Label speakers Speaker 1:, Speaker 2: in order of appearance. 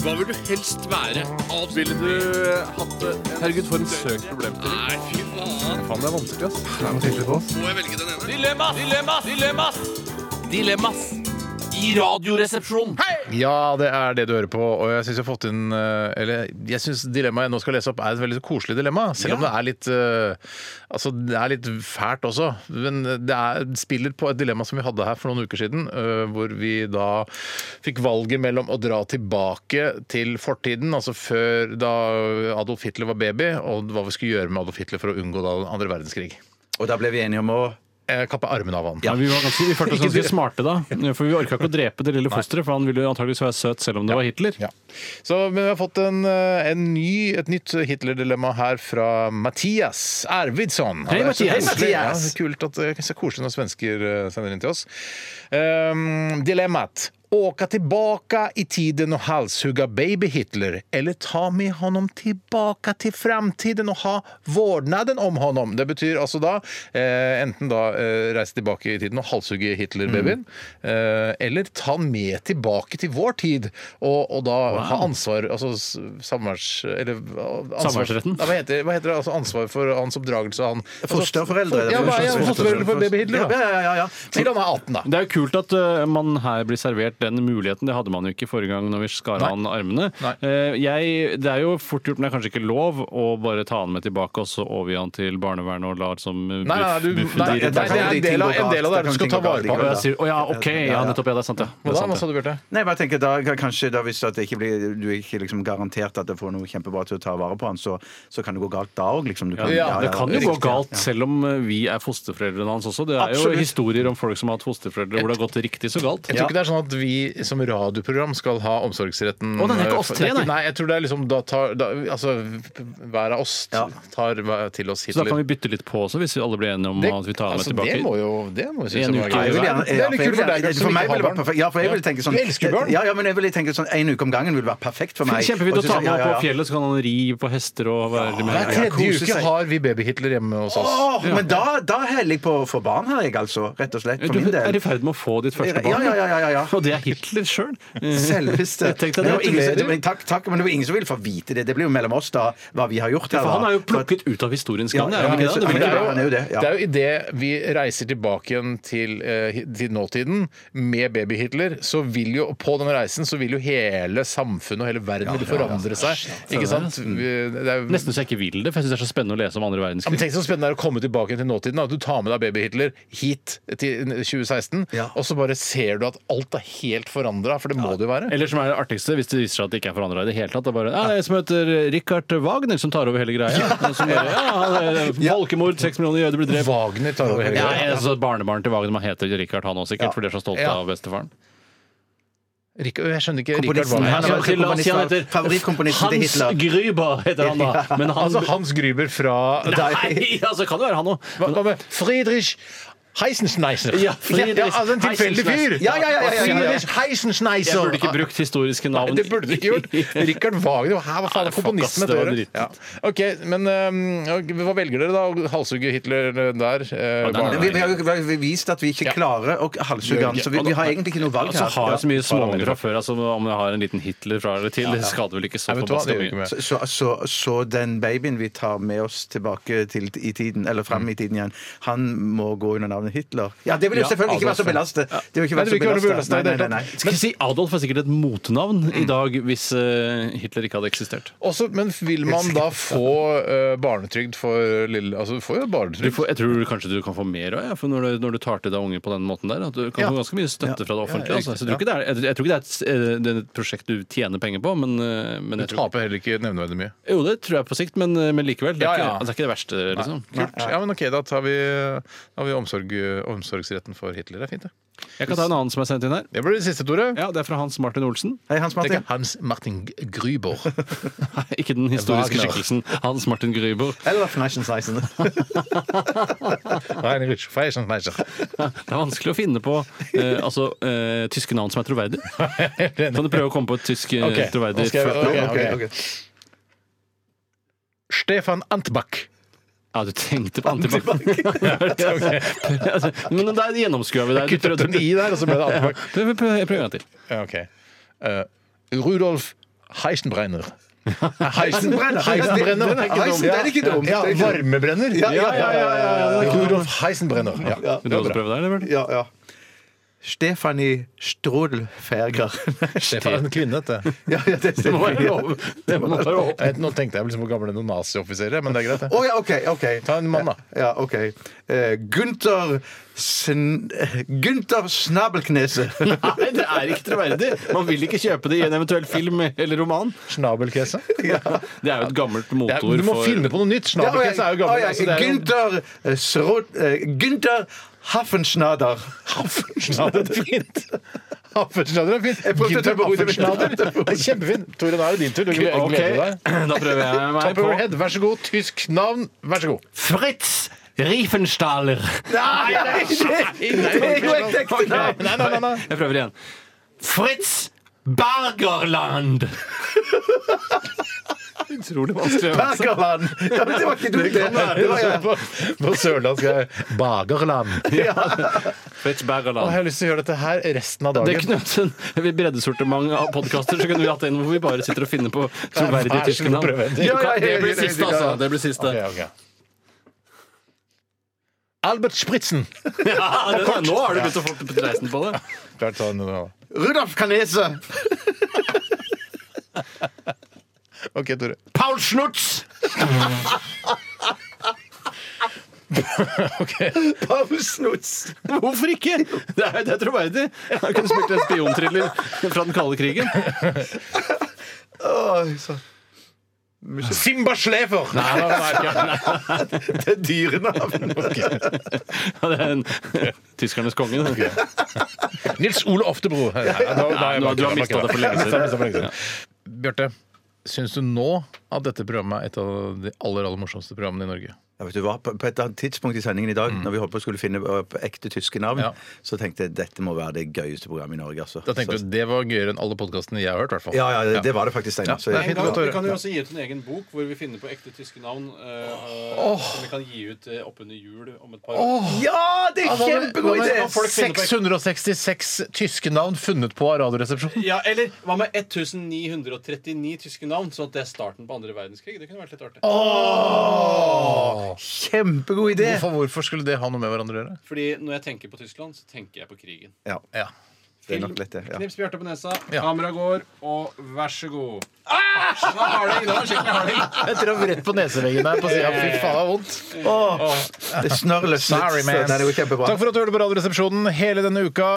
Speaker 1: Hva vil du helst være? Avs-
Speaker 2: Ville du hatt Herregud, for en søk problem.
Speaker 1: Nei, fy faen.
Speaker 2: Faen, det er vanskelig, ass.
Speaker 1: Må jeg velge den ene?
Speaker 3: Dilemmas! Dilemmas! Dilemmas! Dilemmas i Radioresepsjonen.
Speaker 2: Ja, det er det du hører på, og jeg syns jeg har fått inn eh, Eller jeg syns dilemmaet jeg nå skal lese opp, er et veldig koselig dilemma. Selv om det er litt eh, Altså, det er litt fælt også. Men det er, spiller på et dilemma som vi hadde her for noen uker siden, eh, hvor vi da fikk valget mellom å dra tilbake til fortiden, altså før da Adolf Hitler var baby, og hva vi skulle gjøre med Adolf Hitler for å unngå da den andre verdenskrig.
Speaker 4: Og da ble vi enige om å
Speaker 2: Eh, Kappe armen av han.
Speaker 5: Ja, vi, var ganske, vi følte oss ganske smarte da, for vi orka ikke å drepe det lille fosteret, for han ville jo antakeligvis være søt selv om det var Hitler.
Speaker 2: Ja. Så men vi har fått en, eh, en ny, et nytt Hitler-dilemma her fra Mathias Arvidsson.
Speaker 5: Hei,
Speaker 2: Ja, det er så
Speaker 5: Mathias.
Speaker 2: koselig. Ja,
Speaker 4: Mathias.
Speaker 2: kult at det er så koselig når svensker eh, sender inn til oss. Ehm, dilemmat. Åka tilbaka i tiden och halshugga baby Hitler eller ta med honom tillbaka till framtiden och ha vårdnaden om honom. Det betyr altså da eh, enten da eh, reise tilbake i tiden og halshugge Hitler-babyen, eh, eller ta han med tilbake til vår tid og, og da ha ansvar Altså s- samværs... Eller eh, ansvar-
Speaker 5: Samværsretten.
Speaker 2: Nei, hva heter, hva heter det? Altså ansvar for hans oppdragelse av han
Speaker 4: Fosterforeldre.
Speaker 2: Altså, Ja, hva er fosterforeldre for baby Hitler, da?
Speaker 4: Ja, ja, ja, ja.
Speaker 2: Til han er 18, da.
Speaker 5: Det er jo kult at eh, man her blir servert den muligheten. Det hadde man jo ikke forrige gang når vi skar
Speaker 2: Nei.
Speaker 5: an armene.
Speaker 2: Nei.
Speaker 5: Eh, jeg, det er jo fort gjort, men det er kanskje ikke lov å bare ta han med tilbake og så overgi han til barnevernet og lar som eh,
Speaker 2: Nei, nei,
Speaker 5: buff-
Speaker 2: du, nei,
Speaker 5: buffen
Speaker 2: nei,
Speaker 5: de
Speaker 2: det
Speaker 5: redder
Speaker 2: er en del av, en del av det. Du skal ta vare på
Speaker 5: Og
Speaker 2: ham.
Speaker 5: jeg sier, å ja, ok, ja, nettopp, ja, det er sant, ja. Det er
Speaker 2: Hva da?
Speaker 5: sant,
Speaker 2: Hva sa
Speaker 5: ja.
Speaker 2: du, Bjarte?
Speaker 4: Nei, bare tenker da, kanskje da Hvis at det ikke blir, du er ikke liksom garantert at du får noe kjempebra til å ta vare på han, så, så kan det gå galt da òg. Liksom. Du kan-
Speaker 2: Ja,
Speaker 5: Det kan jo gå
Speaker 4: riktig.
Speaker 5: galt selv om eh, vi er fosterforeldrene hans også. Det er jo
Speaker 4: Absolutt.
Speaker 5: historier om folk som har hatt fosterforeldre hvor det har gått riktig så galt.
Speaker 2: Jeg tror ikke det er sånn at vi som radioprogram skal ha omsorgsretten.
Speaker 5: Å, nei, det er ikke oss tre, nei.
Speaker 2: nei. Jeg tror det er liksom da tar da, Altså, hver av oss
Speaker 4: Ja.
Speaker 2: tar hver- til oss
Speaker 5: Så da
Speaker 2: Hitler.
Speaker 5: kan vi bytte litt på også, hvis vi alle blir enige om at vi tar ham
Speaker 2: altså,
Speaker 5: tilbake.
Speaker 2: Det må jo, det må jo synes
Speaker 5: En
Speaker 2: jeg var
Speaker 5: uke
Speaker 2: gøy.
Speaker 5: i
Speaker 4: Jeg vil gjerne-
Speaker 2: Det er litt
Speaker 4: ja,
Speaker 2: kult for
Speaker 4: jeg vil-
Speaker 2: deg Bjarte,
Speaker 4: for
Speaker 2: som
Speaker 4: meg
Speaker 2: ikke har
Speaker 4: vil det være
Speaker 2: barn.
Speaker 4: perfekt. Ja, for jeg
Speaker 2: Ja.
Speaker 4: vil tenke sånn
Speaker 2: Du elsker barn.
Speaker 4: Ja, ja, men jeg vil tenke sånn En uke om gangen vil være perfekt for meg.
Speaker 5: Kjempefint å
Speaker 4: Og så-
Speaker 5: ta med
Speaker 4: ja,
Speaker 5: opp
Speaker 4: ja,
Speaker 5: på fjellet, så kan han ri på hester og være med.
Speaker 2: Hver
Speaker 4: Ja, ja,
Speaker 2: tredje
Speaker 4: kose
Speaker 2: uke
Speaker 4: seg.
Speaker 2: har vi baby-Hitler hjemme hos oss.
Speaker 4: Åh, men da, da heller jeg på å få barn her, jeg, altså. Rett og slett. For
Speaker 5: Du
Speaker 4: min
Speaker 5: er
Speaker 4: del.
Speaker 5: i ferd med å få ditt første barn.
Speaker 4: Ja, ja, ja, ja, ja.
Speaker 5: Og det er Hitler sjøl.
Speaker 4: Selveste.
Speaker 5: Tenk deg
Speaker 4: Men det
Speaker 5: det.
Speaker 4: var ingen, som- men takk, takk, men det var ingen som vil få vite det. Det blir jo mellom oss, da, hva vi har gjort her.
Speaker 5: For han
Speaker 4: da.
Speaker 5: er jo plukket ut av historiens gang.
Speaker 4: Ja,
Speaker 5: er han
Speaker 4: ja,
Speaker 5: ikke det? Det vil
Speaker 2: Men
Speaker 4: ja,
Speaker 5: ikke
Speaker 4: han er jo det, ja.
Speaker 2: det er jo idet vi reiser tilbake igjen til, eh, til nåtiden med baby-Hitler, så vil jo på den reisen så vil jo hele samfunnet og hele verden vil forandre seg. Ikke sant? Vi- Det er jo
Speaker 5: Nesten så jeg ikke vil det, for jeg syns det er så spennende å lese om andre
Speaker 2: Ja, men
Speaker 5: verdenskrig.
Speaker 2: tenk så spennende det er å komme tilbake til nåtiden. da. Du tar med deg baby-Hitler hit til 2016,
Speaker 4: Ja.
Speaker 2: og så bare ser du at alt er helt forandra, for det må det jo være.
Speaker 5: Eller som er det artigste, hvis det viser seg at det ikke er forandra i det hele tatt. Det er bare ja, det er en som heter Richard Wagner, som tar over hele greia. Og Som bare, ja, han er- Folkemord, seks millioner jøder blir drept.
Speaker 2: Wagner tar over hele
Speaker 5: Ja,
Speaker 2: greia.
Speaker 5: jeg synes at Barnebarn til Wagner man heter Richard, han også, sikkert, for de er så stolte
Speaker 2: Ja.
Speaker 5: av bestefaren.
Speaker 2: Rik- Jeg skjønner ikke Richard
Speaker 4: Komponisten,
Speaker 2: Wagner.
Speaker 4: han er-
Speaker 5: Ja, til- La oss si han heter
Speaker 4: Favorittkomponisten til
Speaker 5: Hans
Speaker 4: Hitler.
Speaker 5: Gruber, heter han da. Men han,
Speaker 2: Altså Hans Gruber fra
Speaker 5: Nei, altså kan det være han òg.
Speaker 2: Hva hva med Friedrich Heisenschneiser?
Speaker 5: Ja, Friedrich
Speaker 2: Ja, altså en tilfeldig fyr!
Speaker 5: Heisenschneiser. Ja, ja, ja, ja, ja, ja.
Speaker 2: Friedrich
Speaker 5: Jeg
Speaker 2: Heisenschneiser!
Speaker 5: burde ikke brukt historiske navn.
Speaker 2: Nei, det burde du ikke gjort. Richard Wagner og her, hva faen
Speaker 5: Nei,
Speaker 2: er
Speaker 5: fuck,
Speaker 2: komponisten
Speaker 5: ass, det
Speaker 2: med
Speaker 5: var
Speaker 2: dere?
Speaker 5: dritt.
Speaker 2: Ja. Ok, men øhm, ok, hva velger dere da? Å Halshugge Hitler der? eh,
Speaker 5: Ja, den er
Speaker 2: barn-
Speaker 5: det.
Speaker 4: Vi, vi har jo vi har jo vist at vi ikke klarer å halshugge han, så vi, vi har egentlig ikke noe valg
Speaker 5: Altså,
Speaker 4: her.
Speaker 5: har jeg så mye småunger
Speaker 2: Parameter.
Speaker 5: fra før, altså, om jeg har en liten Hitler fra eller til, det skader vel ikke så
Speaker 2: Nei, vet du hva,
Speaker 5: forbaska
Speaker 2: det gjør vi ikke
Speaker 5: mye.
Speaker 2: med.
Speaker 4: Så, så, så, så den babyen vi tar med oss tilbake til i tiden, eller frem i tiden igjen, han må gå under navnet Hitler? Ja, det vil jo
Speaker 5: Ja,
Speaker 4: selvfølgelig ikke være så belastet. Det vil
Speaker 2: Nei, det vil
Speaker 4: ikke være så
Speaker 2: ikke være
Speaker 4: belastet.
Speaker 2: belastet i
Speaker 4: Nei,
Speaker 2: det
Speaker 4: nei,
Speaker 2: hele
Speaker 4: nei,
Speaker 2: tatt.
Speaker 5: Skal jeg si Adolf er sikkert et motnavn i dag hvis eh, Hitler ikke hadde eksistert.
Speaker 2: Også, men vil man da få eh, barnetrygd for lille Altså, du får jo
Speaker 5: Du
Speaker 2: barnetrygd.
Speaker 5: får, jeg tror kanskje du kan få mer òg, ja, for når du, når du tar til deg unge på den måten der. At du kan
Speaker 2: Ja.
Speaker 5: få ganske mye støtte fra det offentlige.
Speaker 2: Ja,
Speaker 5: altså. Så jeg,
Speaker 2: riktig,
Speaker 5: tror ikke det er, jeg, jeg tror ikke det er, et, eh, det er et prosjekt du tjener penger på, men, eh, men
Speaker 2: Du
Speaker 5: jeg tror,
Speaker 2: taper heller ikke nevneverdig mye.
Speaker 5: Jo, det tror jeg på sikt, men, eh, men likevel. Det er,
Speaker 2: Ja, ja.
Speaker 5: Ikke, altså, det er ikke det verste, liksom.
Speaker 2: Kult. Ja, men ok, Da tar vi, da har vi omsorg, øh, omsorgsretten for Hitler. Det er fint, det.
Speaker 5: Jeg kan ta en annen som er sendt inn her.
Speaker 2: Det blir det siste, Tore.
Speaker 5: Ja, Det er fra Hans Martin Olsen.
Speaker 4: Hei, Hans
Speaker 2: Det er
Speaker 4: Martin.
Speaker 2: ikke Hans Martin Gruber.
Speaker 5: Ikke den historiske
Speaker 2: Wagner.
Speaker 5: skikkelsen Hans Martin Gryber.
Speaker 4: Eller Fneissenseisen.
Speaker 2: Heinrich Feisenschneiser.
Speaker 5: Det er vanskelig å finne på eh, altså, eh, tyske navn som er troverdige. Kan du prøve å komme på et tysk eh,
Speaker 2: Ok,
Speaker 5: troverdig
Speaker 2: nå skal jeg-
Speaker 5: flørt-
Speaker 2: ok, ok. Stefan Antbach.
Speaker 5: Ja, du tenkte på Antibac. Altså, Men der gjennomskua vi deg. Du
Speaker 2: Kuttet
Speaker 5: prøvde-
Speaker 2: en i der, og så ble det
Speaker 5: Ja,
Speaker 2: Antbach.
Speaker 5: prøv prøv- prøv en gang til.
Speaker 2: Ja, ok. Eh, Rudolf Heisenbrenner.
Speaker 4: Heisenbrenner.
Speaker 2: Heisenbrenner.
Speaker 4: Den er ikke dum.
Speaker 2: Heisen-
Speaker 4: Den er ikke
Speaker 2: Ja,
Speaker 4: dum. Den er ikke dum.
Speaker 2: varmebrenner.
Speaker 4: Ja, ja, ja, ja, ja, ja.
Speaker 2: Rudolf Heisenbrenner. Ja.
Speaker 5: Vil du også prøve deg, eller? Bjørn?
Speaker 4: Ja, ja. Stefanie Strudelferger.
Speaker 2: Det var en kvinne, dette.
Speaker 4: ja, ja, det
Speaker 5: Det må
Speaker 4: stemmer.
Speaker 5: være lov. Det må være lov.
Speaker 2: Jeg- Nå tenkte jeg liksom på gamle noen nazioffiserer, men det er greit,
Speaker 4: Å
Speaker 2: det.
Speaker 4: ja, OK. ok
Speaker 2: Ta en mann, da.
Speaker 4: Ja, OK. Eh, Gunther Sn Gunther Snabelknese.
Speaker 5: Nei, det er ikke troverdig. Man vil ikke kjøpe det i en eventuell film eller roman.
Speaker 2: Snabelkese.
Speaker 5: Det er jo et gammelt
Speaker 2: Det er-
Speaker 5: motord
Speaker 2: Du må
Speaker 5: for
Speaker 2: finne på noe nytt.
Speaker 4: Ja, og jeg-
Speaker 2: Snabelkese er jo
Speaker 4: å,
Speaker 2: gammel.
Speaker 4: ja,
Speaker 2: altså, det er jo-
Speaker 4: Gunther eh, Srod... eh, Gunther Haffensnader.
Speaker 2: Haffensnader er fint. Haffensnader er fint.
Speaker 4: Jeg prøvde å ta på hodet mitt.
Speaker 2: Haffensnader. Det er kjempefint. Tore, nå er det din tur. Du gleder
Speaker 5: Ok,
Speaker 2: deg.
Speaker 5: da prøver jeg meg
Speaker 2: Top of
Speaker 5: på
Speaker 2: your head. Vær så god. Tysk navn. Vær så god.
Speaker 5: Fritz Riefenstahler.
Speaker 4: Nei, nei, nei, det er jo et ekte navn!
Speaker 2: Nei, nei, nei, nei.
Speaker 5: Jeg prøver igjen. Fritz Bergerland. Utrolig vanskelig å øve seg.
Speaker 4: Bergerland! Ja, men det var ikke dumt, det. det var, ja.
Speaker 2: På, på sørlandsk er det Bagerland.
Speaker 5: Fritz
Speaker 2: Å, Jeg
Speaker 5: Bergerland.
Speaker 2: har lyst til å gjøre dette her resten av
Speaker 5: Det
Speaker 2: dagen.
Speaker 5: er Knutsen. Ved breddesortiment av podkaster så kunne vi hatt en hvor vi bare sitter og finner på troverdige
Speaker 2: Vær så
Speaker 5: tyske
Speaker 2: god,
Speaker 5: navn.
Speaker 2: prøv en til.
Speaker 5: Du kan- Det blir siste, altså. Det blir siste.
Speaker 2: Ok, ok. Albert Spritzen.
Speaker 5: Ja, det, nå har du begynt å få dreisen på det.
Speaker 2: Klart ta den nå.
Speaker 4: Rudolf Kanese.
Speaker 2: OK, Tore.
Speaker 5: Paul Schnutz!
Speaker 4: Pausnuts.
Speaker 5: Hvorfor ikke? Det er, det er troverdig. Han kunne spilt en spionthriller fra den kalde krigen.
Speaker 4: Oi, så.
Speaker 2: Simba Schlæfer!
Speaker 5: Nei, nei, nei, nei.
Speaker 4: Det er dyrenavn.
Speaker 5: Ja, Det er en tyskernes konge. det.
Speaker 2: Nils Ole Oftebro. Nei, nei, nå- nei, jeg
Speaker 5: Nå-
Speaker 2: bare
Speaker 5: du har
Speaker 2: kødder,
Speaker 5: mistet
Speaker 2: jeg bare
Speaker 5: det for lenge siden.
Speaker 2: kødder. Jeg mistet det for lenge siden. Bjarte, syns du nå at dette programmet er et av de aller aller morsomste programmene i Norge?
Speaker 4: Ja, vet du hva? På på et eller annet tidspunkt i sendingen i dag, når vi holdt på å skulle finne opp ekte tyske navn,
Speaker 2: Mm. Ja.
Speaker 4: så tenkte jeg dette må være det gøyeste programmet i Norge. Altså.
Speaker 2: Da tenkte du
Speaker 4: så,
Speaker 2: Det var gøyere enn alle podkastene jeg har hørt. i hvert fall.
Speaker 4: ja, ja, det, det var det faktisk, Steinar. Så-
Speaker 2: det er fint.
Speaker 5: Vi kan- vi kan jo også gi ut en egen bok hvor vi finner på ekte tyske navn. eh, Som vi kan gi ut eh, oppunder jul om et par år.
Speaker 4: Ja, det er
Speaker 2: Hva med- hva
Speaker 4: kjempegod
Speaker 2: med
Speaker 4: idé!
Speaker 5: folk finne på-
Speaker 2: 666 tyske navn funnet på av Radioresepsjonen.
Speaker 5: Ja, Eller hva med 1939 tyske navn? Sånn at det er starten på andre verdenskrig. Det kunne vært litt artig.
Speaker 4: Kjempegod idé!
Speaker 2: Hvorfor, hvorfor skulle det ha noe med hverandre å gjøre?
Speaker 5: Fordi når jeg tenker på Tyskland, så tenker jeg på krigen.
Speaker 4: Ja,
Speaker 2: Ja.
Speaker 4: det er nok lett, det. Ja.
Speaker 5: Knips Bjarte på nesa,
Speaker 2: Ja.
Speaker 5: kamera går, og vær så god. Ah! Nå har det, nå har det, sjekk, nå har det.
Speaker 2: Jeg traff rett på neseveggen her. På siden. Fy faen, det var vondt.
Speaker 4: Åh, det snørr løsnet.
Speaker 2: Sorry, man.
Speaker 4: Nei, det var kjempebra.
Speaker 2: Takk for at du hørte på Radioresepsjonen hele denne uka.